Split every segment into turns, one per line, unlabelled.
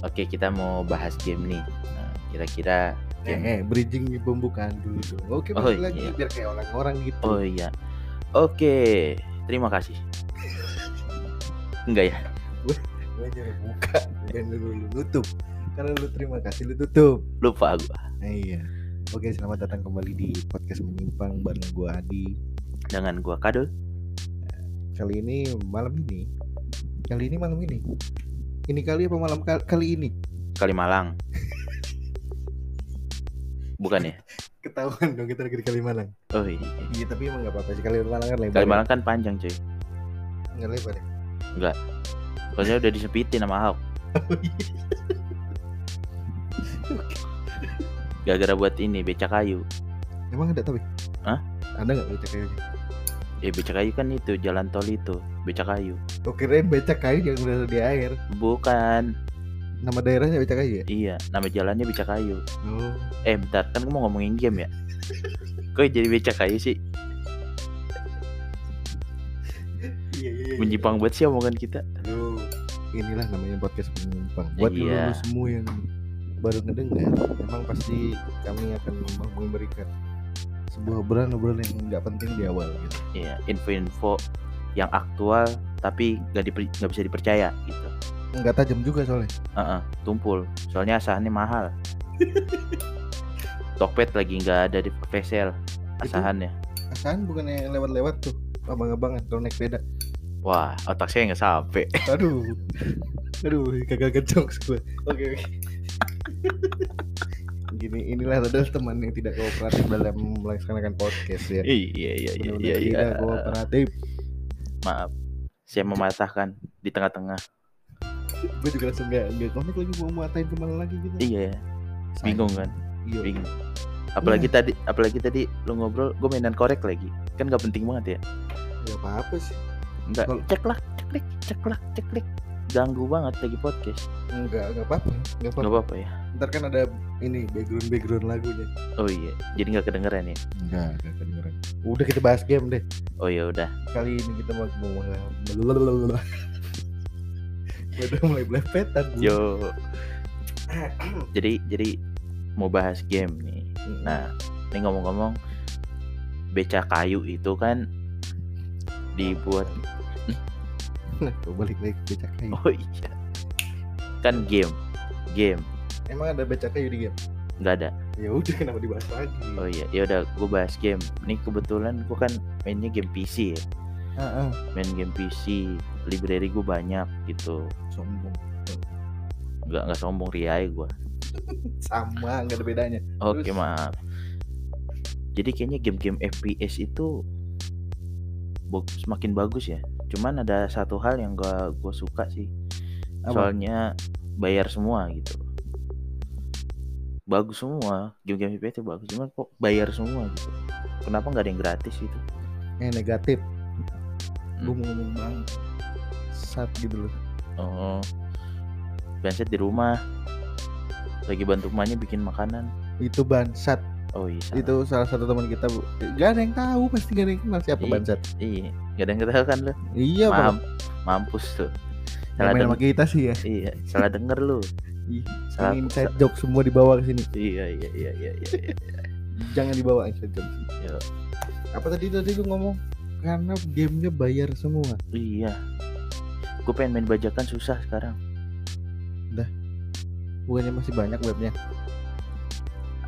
Oke, kita mau bahas game nih. Nah, kira-kira
Eh,
game
eh, bridging pembukaan dulu dong. Oke,
Oh,
balik
iya.
lagi biar kayak orang-orang gitu.
Oh iya. Oke, terima kasih. Enggak ya?
Gue
iya.
nyuruh buka, dan lu, lu nutup. Karena lu terima kasih lu tutup.
Lupa gua
Nah, iya. Oke, selamat datang kembali di podcast menyimpang bareng gua Adi.
dengan gua Kadul.
Kali ini malam ini. Kali ini malam ini. Ini kali apa malam kal- kali ini?
Kalimalang. Bukan ya?
Ketahuan dong kita lagi di Kalimalang.
Oh iya.
Iya, tapi emang enggak apa-apa sih Kalimalang kan lebar.
Kalimalang kan panjang, cuy.
enggak lebar. ya?
Soalnya udah disepitin sama Ahok. Gara-gara buat ini becak kayu.
Emang ada tapi?
Hah?
Ada enggak becak kayunya?
Ya becak kayu kan itu jalan tol itu, becak kayu.
Gue kirain becak kayu yang udah di air.
Bukan.
Nama daerahnya becak kayu ya?
Iya, nama jalannya becak kayu.
Oh.
Eh bentar, kan gua mau ngomongin game ya Kok jadi becak kayu sih?
Iya, iya, iya.
Menyimpang banget sih omongan kita
Aduh, inilah namanya podcast menyimpang. Buat lu
Iya.
lu semua yang baru ngedengar, emang pasti kami akan mem- memberikan sebuah obrolan-obrolan yang nggak penting di awal gitu.
Iya, info-info yang aktual Tapi gak, diper- nggak bisa dipercaya gitu
Nggak tajam juga soalnya.
Heeh, tumpul Soalnya asahannya mahal Tokped lagi nggak ada di VSL Asahannya
Asahan bukannya yang lewat-lewat tuh abang-abangan kalau naik sepeda.
Wah, otak saya nggak sampai
Aduh, aduh, gagal gejok gue. Oke, oke. Gini, inilah adalah teman yang tidak kooperatif dalam melaksanakan podcast ya.
Iya, iya, iya, iya,
Benar-benar
iya.
tidak kooperatif.
Maaf Saya mematahkan di tengah-tengah
gue juga langsung gak, gak komit lagi mau matain kemana lagi gitu
Iya, bingung kan
iya
bingung apalagi tadi apalagi tadi lu ngobrol gue mainan korek lagi kan nggak penting banget ya
gak apa apa sih
nggak
Kalau-
ceklak ceklik ceklak ceklik ganggu banget lagi podcast
enggak gak apa apa gak apa,
nggak apa-apa ya
ntar kan ada ini background background lagunya
oh iya jadi nggak kedengeran ya
enggak gak kedengeran udah kita bahas game deh
oh ya udah
kali ini kita mau mau mau udah mulai belepetan Bu.
yo jadi jadi mau bahas game nih nah ini ngomong-ngomong beca kayu itu kan dibuat
nah gua balik lagi ke becak kayu
oh iya kan game game
emang ada becak kayu di game
nggak ada
ya udah kenapa dibahas lagi
Oh iya, ya udah gue bahas game. Ini kebetulan gue kan mainnya game PC ya.
Ah, ah,
Main game PC, library gue banyak gitu.
sombong
Nggak nggak sombong riai gue.
sama nggak ada bedanya
Oke,
Terus?
maaf. Jadi kayaknya game-game FPS itu bo- semakin bagus ya. Cuman ada satu hal yang gak gue suka sih.
Apa?
Soalnya bayar semua gitu. Bagus semua, game-game FPS itu bagus. Cuman kok bayar semua gitu. Kenapa nggak ada yang gratis gitu?
eh negatif
Hmm.
gue mau ngomong bang sat gitu loh
Oh. Benset di rumah. Lagi bantu emaknya bikin makanan.
itu bansat
Oh iya. salah.
itu salah satu teman kita bu gak ada yang tahu pasti gak ada yang kenal siapa
Iya.
bansat
Iya, gak ada yang ketahuan kan lu.
iya
Mam,
bang
mampus tuh. Salah
yang main
denger.
sama kita sih ya
Iya, salah denger lu.
Ih,
Salah.
ini inside joke semua dibawa ke sini
Iya, iya, iya, iya, iya. iya.
jangan dibawa inside joke
Iya.
apa tadi tadi lu ngomong karena gamenya bayar semua
iya. Gue pengen main bajakan susah sekarang.
bukannya masih banyak webnya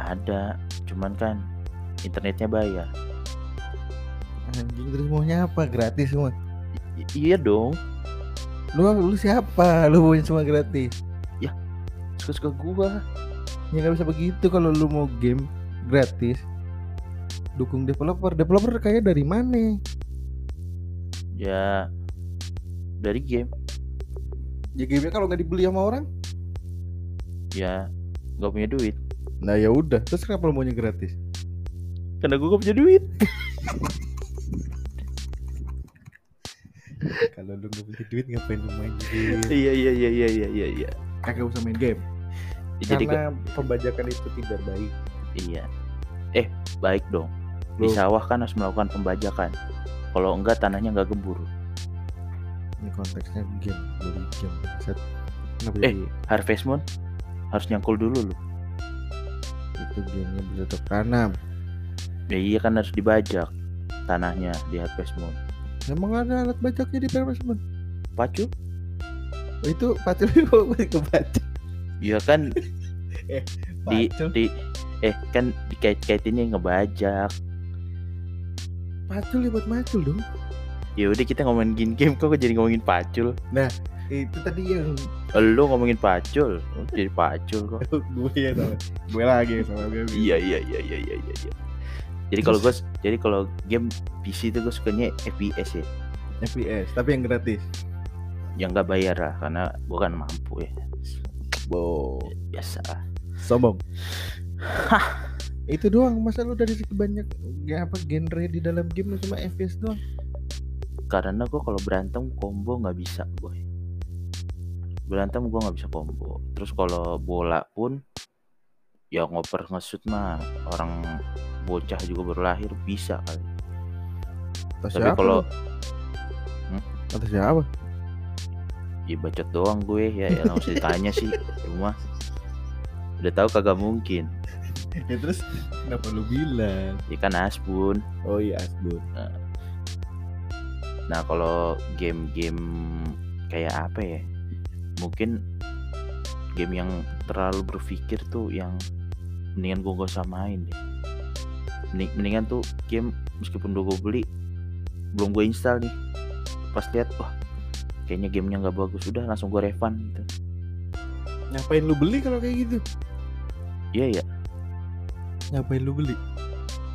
Ada, cuman kan internetnya bayar.
anjing terus maunya apa gratis semua
I- iya dong.
lu lu siapa lu mauin semua gratis
Suka-suka gua.
ya nggak bisa begitu kalau lu mau game gratis dukung developer developer kayak dari mana
Ya dari game
ya gamenya kalau nggak dibeli sama orang
ya gak punya duit
nah ya udah terus kenapa lu maunya gratis
karena gue gak punya duit
kalau lu nggak punya duit ngapain lu main game
iya iya iya iya iya iya iya
kagak usah main game
jadi gua-
karena pembajakan itu tidak baik
iya eh baik dong di
Belum.
sawah kan harus melakukan pembajakan kalau enggak tanahnya enggak gembur
ini konteksnya game beli game set Kenapa
Eh.
jadi
Harvest Moon harus nyangkul dulu lu.
itu gamenya bercocok tanam?
Ya iya kan harus dibajak tanahnya di Harvest Moon.
Emang ada alat bajaknya di Permas Moon?
Pacu?
Itu pacul itu kebaca.
Iya kan di
Pacul.
di eh kan dikait-kaitinnya ngebajak.
Pacul ya buat macul dong.
Ya udah kita ngomongin gin game kok jadi ngomongin pacul.
Nah, Itu tadi yang
Lu ngomongin pacul, lu jadi pacul kok.
gue ya sama. Gue lagi ya, sama gue.
Iya iya iya iya iya iya. iya. Jadi kalau gue jadi kalau game PC itu gue sukanya FPS ya,
FPS, tapi yang gratis.
yang nggak bayar lah karena gue kan mampu ya.
Bo.
Biasa. lah.
Sombong. itu doang masa lu dari segi banyak ya apa genre di dalam game lu cuma FPS doang
Karena gue kalau berantem combo nggak bisa gue. Berantem gue nggak bisa combo. Terus kalau bola pun ya ngoper ngesut mah orang bocah juga baru lahir bisa kali.
atas
Tapi kalau-
lu?
Hmm?
atas siapa
Ya bacot doang gue ya, ya nggak usah ditanya sih. Cuma udah tahu kagak mungkin.
ya terus kenapa lu bilang
Ikan kan asbun.
oh iya asbun
Nah kalau game-game kayak apa ya? Mungkin game yang terlalu berpikir tuh yang mendingan gue gak usah main deh. Mending- Mendingan tuh game meskipun udah gue beli belum gue install nih. Pas lihat wah kayaknya gamenya nggak bagus udah langsung gue refund gitu.
ngapain lu beli kalau kayak gitu
Iya ya
ngapain lu beli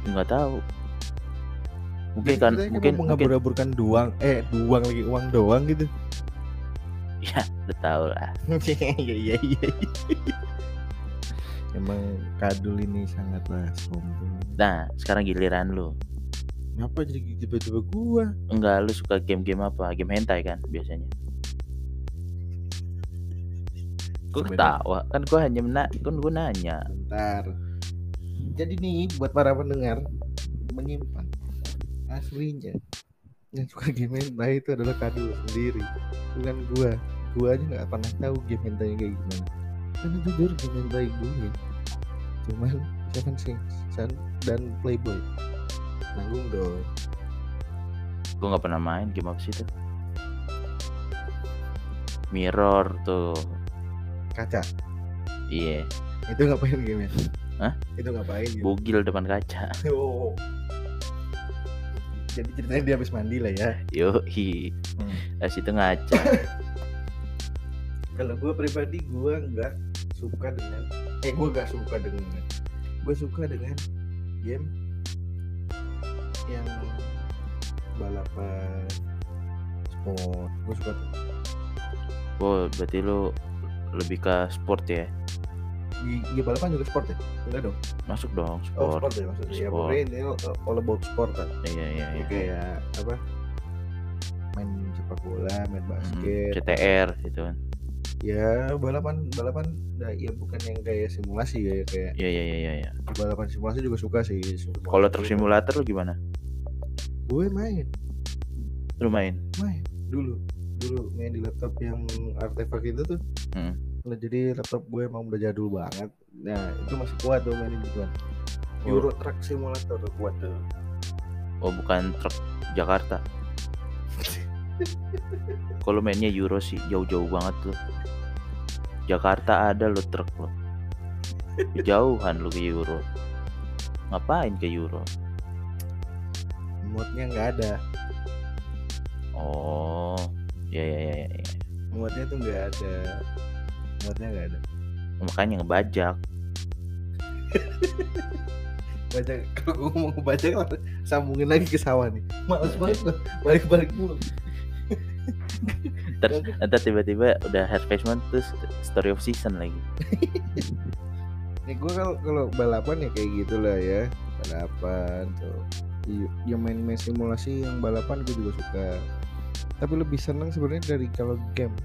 nggak tahu. Mungkin kan mungkin mungkin
mengabur-aburkan doang eh doang lagi uang doang gitu
ya udah tahu lah.
iya iya iya emang kadul ini sangatlah sombong
Nah sekarang giliran lu.
Kenapa jadi tiba-tiba gua?
Enggak lu suka game-game apa? Game hentai kan biasanya. Gue
Sebenarnya-
ketawa kan gue hanya mena kan gue nanya.
Bentar. Jadi nih buat para pendengar menyimpan aslinya yang suka game hentai itu adalah kadu sendiri bukan gua gua aja nggak pernah tahu game hentai kayak gimana karena jujur game hentai gue cuman Seven Sins Sun, dan Playboy nanggung dong
Gue nggak pernah main game apa sih itu? Mirror tuh.
kaca
Iya,
itu ngapain game ya?
Hah?
itu ngapain game
bugil depan kaca.
Oh. jadi ceritanya dia habis mandi lah ya
Yoi.
Hmm.
Dari situ ngaca.
kalau gue pribadi gue nggak suka dengan eh gue nggak suka dengan gue suka dengan game yang balapan sport gue suka tuh.
Oh, berarti lu lebih ke sport ya?
I- iya balapan juga sport ya enggak dong
Masuk dong
oh
sport.
sport ya maksudnya ya
Sport.
pokoknya ini uh, all about sport kan
Iya iya iya.
Ya, kayak apa main sepak bola main
Mm,
basket
CTR gitu kan.
ya balapan balapan nah, ya bukan yang kayak simulasi ya kayak
Iya iya iya iya, iya.
balapan simulasi juga suka sih Simulasi
Kalau
juga.
truk simulator lu gimana?
gue main
Lu main?
main dulu dulu main di laptop yang artefak itu tuh
Mm.
Nah, jadi laptop gue emang udah jadul banget nah itu masih kuat tuh mainin gitu. gituan
Oh.
Euro Truck Simulator tuh kuat tuh
Oh bukan truk Jakarta. Kalau mainnya Euro sih jauh-jauh banget tuh. Jakarta ada lo truk lo. Jauhan lo ke Euro. Ngapain ke Euro?
modnya nggak ada
Oh, ya ya ya. ya.
modnya tuh nggak ada modnya nggak ada
Makanya ngebajak.
bajak kalau gue ngomong ke bajak langsung sambungin lagi ke sawah nih males banget gue balik-balik mulu
Terus ntar tiba-tiba udah Harvest Moon terus Story of Season lagi.
Ya gue kalau kalau balapan ya kayak gitulah ya balapan tuh Iya, Y- yang main-main simulasi yang balapan gue juga suka tapi lebih seneng sebenarnya dari kalau game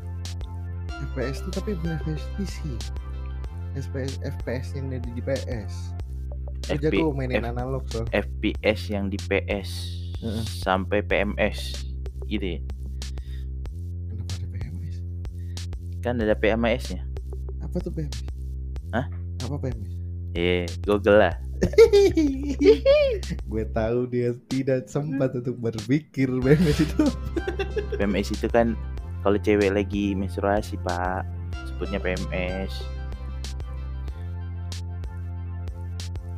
FPS tuh tapi bukan FPS PC FPS FPS yang ada di PS gue
FP
jago mainin
F-
analog soal
FPS yang di PS
Heeh.
sampai PMS gitu ya.
kenapa ada PMS
Kan ada PMS-nya.
Apa tuh PMS?
Hah?
Apa PMS?
Eh, Google lah.
gue tahu dia tidak sempat untuk berpikir PMS itu.
PMS itu kan kalau cewek lagi menstruasi, Pak. Sebutnya PMS.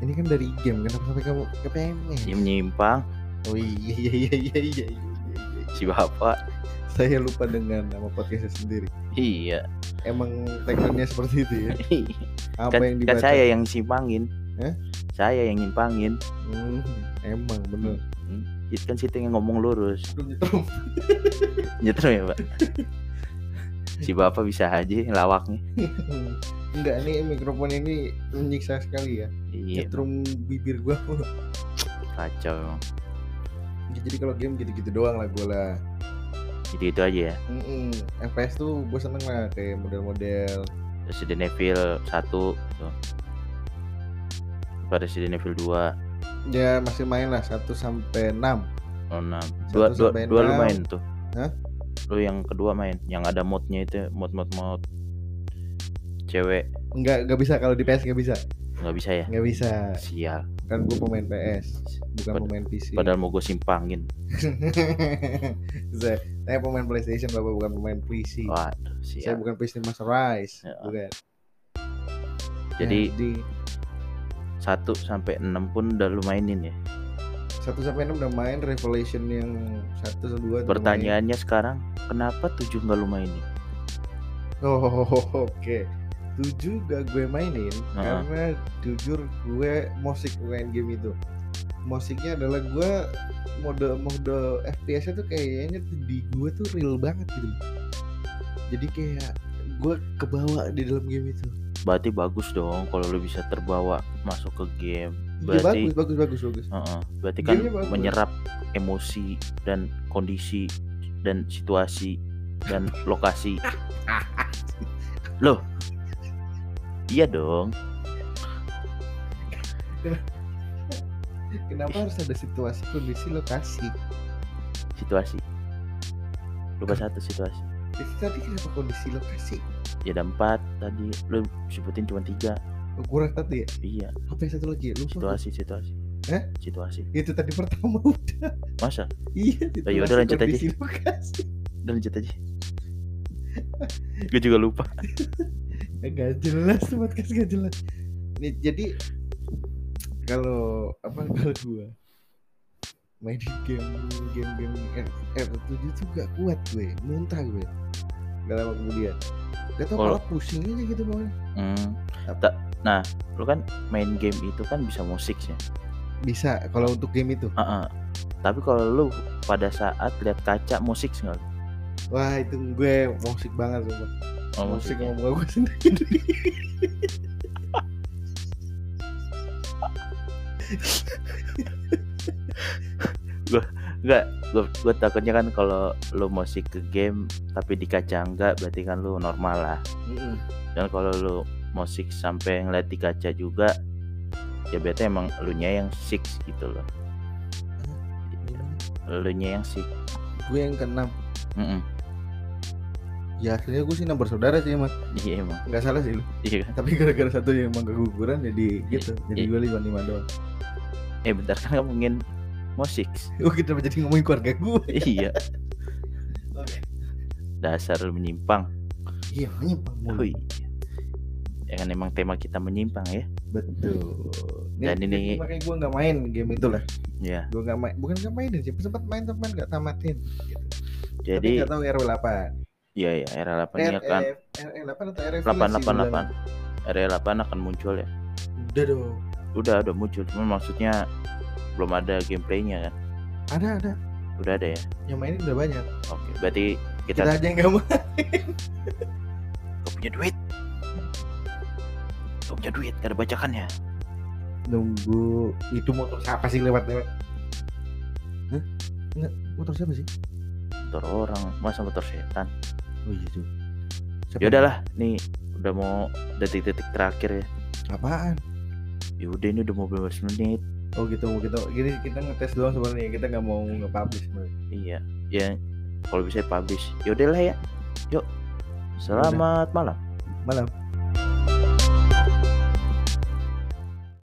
Ini kan dari game, kenapa sampai kamu ke PMS?
Dia menyimpang
Oh iya iya iya iya iya. iya, iya.
si Bapak.
Saya lupa dengan nama podcastnya sendiri.
Iya.
Emang tagline-nya seperti itu ya. Apa
kan,
yang
kan
dibaca? Eh?
saya yang simpangin.
Hah?
Saya yang nyimpangin.
Hmm, emang bener. Hmm.
Itu kan situ yang ngomong lurus.
Belum nyetrum.
Nyetrum ya, Pak. si Bapak bisa aja lawaknya.
Enggak nih mikrofon ini menyiksa sekali ya.
Iya,
Nyetrum bibir gua. Iya.
kacau. emang.
Ya, jadi kalau game gitu-gitu doang lah gue lah.
Jadi itu aja ya.
Mm-mm. FPS tuh gue seneng lah kayak model-model
Resident Evil 1 gitu. Pada Resident Evil 2,
ya masih main lah 1 sampai 6
oh, 6.
Satu
Dua, dua,
sampai
dua lu
enam.
main tuh.
Hah?
Lu yang kedua main, yang ada modnya itu, mod-mod mod cewek
Enggak enggak bisa kalau di PS enggak bisa.
nggak bisa ya?
Enggak bisa.
Sial.
Kan gue pemain PS, bukan
Pad-
pemain PC.
Padahal mau gue simpangin.
saya, saya pemain PlayStation Bapak bukan pemain PC.
Waduh,
Saya
sial.
bukan PC Master Race.
Ya.
Bukan.
Jadi
Jadi
1 sampai 6 pun udah lu mainin ya.
1 sampai 6 udah main Revelation yang 1 sama 2 udah main.
Pertanyaannya sekarang, kenapa 7 nggak lu mainin?
Oh, oke. 7 gak gue mainin
Heeh.
karena jujur gue musik main game itu. Musiknya adalah gue mode mode FPS-nya tuh kayaknya tuh di gue tuh real banget gitu. Jadi kayak gue kebawa di dalam game itu.
Berarti bagus dong kalau lu bisa terbawa masuk ke game.
Iya
Berarti-
bagus bagus bagus bagus.
Heeh, berarti kan
Gamenya bagus.
menyerap emosi dan kondisi dan situasi dan lokasi. Loh. Iya dong.
Kenapa harus ada situasi kondisi lokasi?
Situasi. Lupa satu situasi.
Jadi Ya, tadi kenapa kondisi lokasi?
Ya ada empat tadi lu sebutin cuma tiga.
Kurang tadi ya?
Iya,
Apa yang satu lagi? ya? Lupa.
situasi, situasi.
Eh?
Situasi.
Itu tadi pertama udah.
Masa?
Iya.
Oh, yaudah,
situasi
lanjut aja.
kondisi Lokasi.
Udah lanjut aja. Gue juga lupa.
Eh, Gak jelas tuh podcast gak jelas. Nih, jadi kalau apa kalau gua main game game game R7 tuh gak kuat gue, muntah gue. Gak lama kemudian. Gak tau
Kalau-
malah pusing aja gitu pokoknya.
Hmm. Ta- Nah, lu kan main game itu kan bisa musik ya.
Bisa kalau untuk game itu.
Heeh. Tapi kalau lu pada saat lihat kaca musik nggak? lu?
Wah itu gue musik banget sumpah.
Oh,
musik
musiknya.
sama muka gue sendiri.
Enggak, gua, gua takutnya kan kalau lu musik ke game tapi di kaca enggak berarti kan lu normal lah. Dan kalau lu musik sampai ngeliat di kaca juga ya berarti emang lu nya yang six gitu loh. Lu nya yang six.
gue yang keenam.
Mm-mm.
Ya akhirnya gue sih enam bersaudara sih emang.
Iya emang.
Nggak salah sih lu.
Iya kan?
Tapi gara-gara satu yang emang keguguran jadi gitu. Jadi
Iya.
gue lima lima doang.
Eh bentar kan kamu ngomongin musik.
Gue kita jadi ngomongin keluarga gue.
iya. Dasar lu menyimpang.
Iya menyimpang mulu.
Hui. Ya kan emang tema kita menyimpang ya.
Betul.
Dan ini-
makanya gue nggak main game itu lah.
Ya.
Gue nggak main, bukan nggak mainin sih. Sempat main teman nggak tamatin. Gitu. Tapi Eh,
Jadi
nggak tahu RW 8
iya ya RL8 ini akan
RW 8 atau RW
888 RL8 akan muncul ya.
Udah dong.
Udah udah muncul. Cuma maksudnya belum ada gameplaynya kan.
Ada ada.
Udah ada ya.
Yang mainin udah banyak.
Oke. Berarti kita,
Kita aja yang nggak mau.
Gak punya duit. Gak punya duit. Gak ada ya? bacakannya.
Nunggu itu motor siapa sih lewat lewat? Hah? Nggak, motor siapa sih?
Motor orang masa motor setan.
Oh iya tuh. Siapa?
Ya udahlah. Nih udah mau detik-detik terakhir ya.
Apaan?
Ya udah ini udah mau 15 menit.
Oh gitu, mau gitu. Gini kita ngetes doang sebenarnya. Kita nggak mau nge-publish sebenarnya.
Iya. Ya kalau bisa publish. Ya udahlah ya. Yuk.
Selamat malam.
malam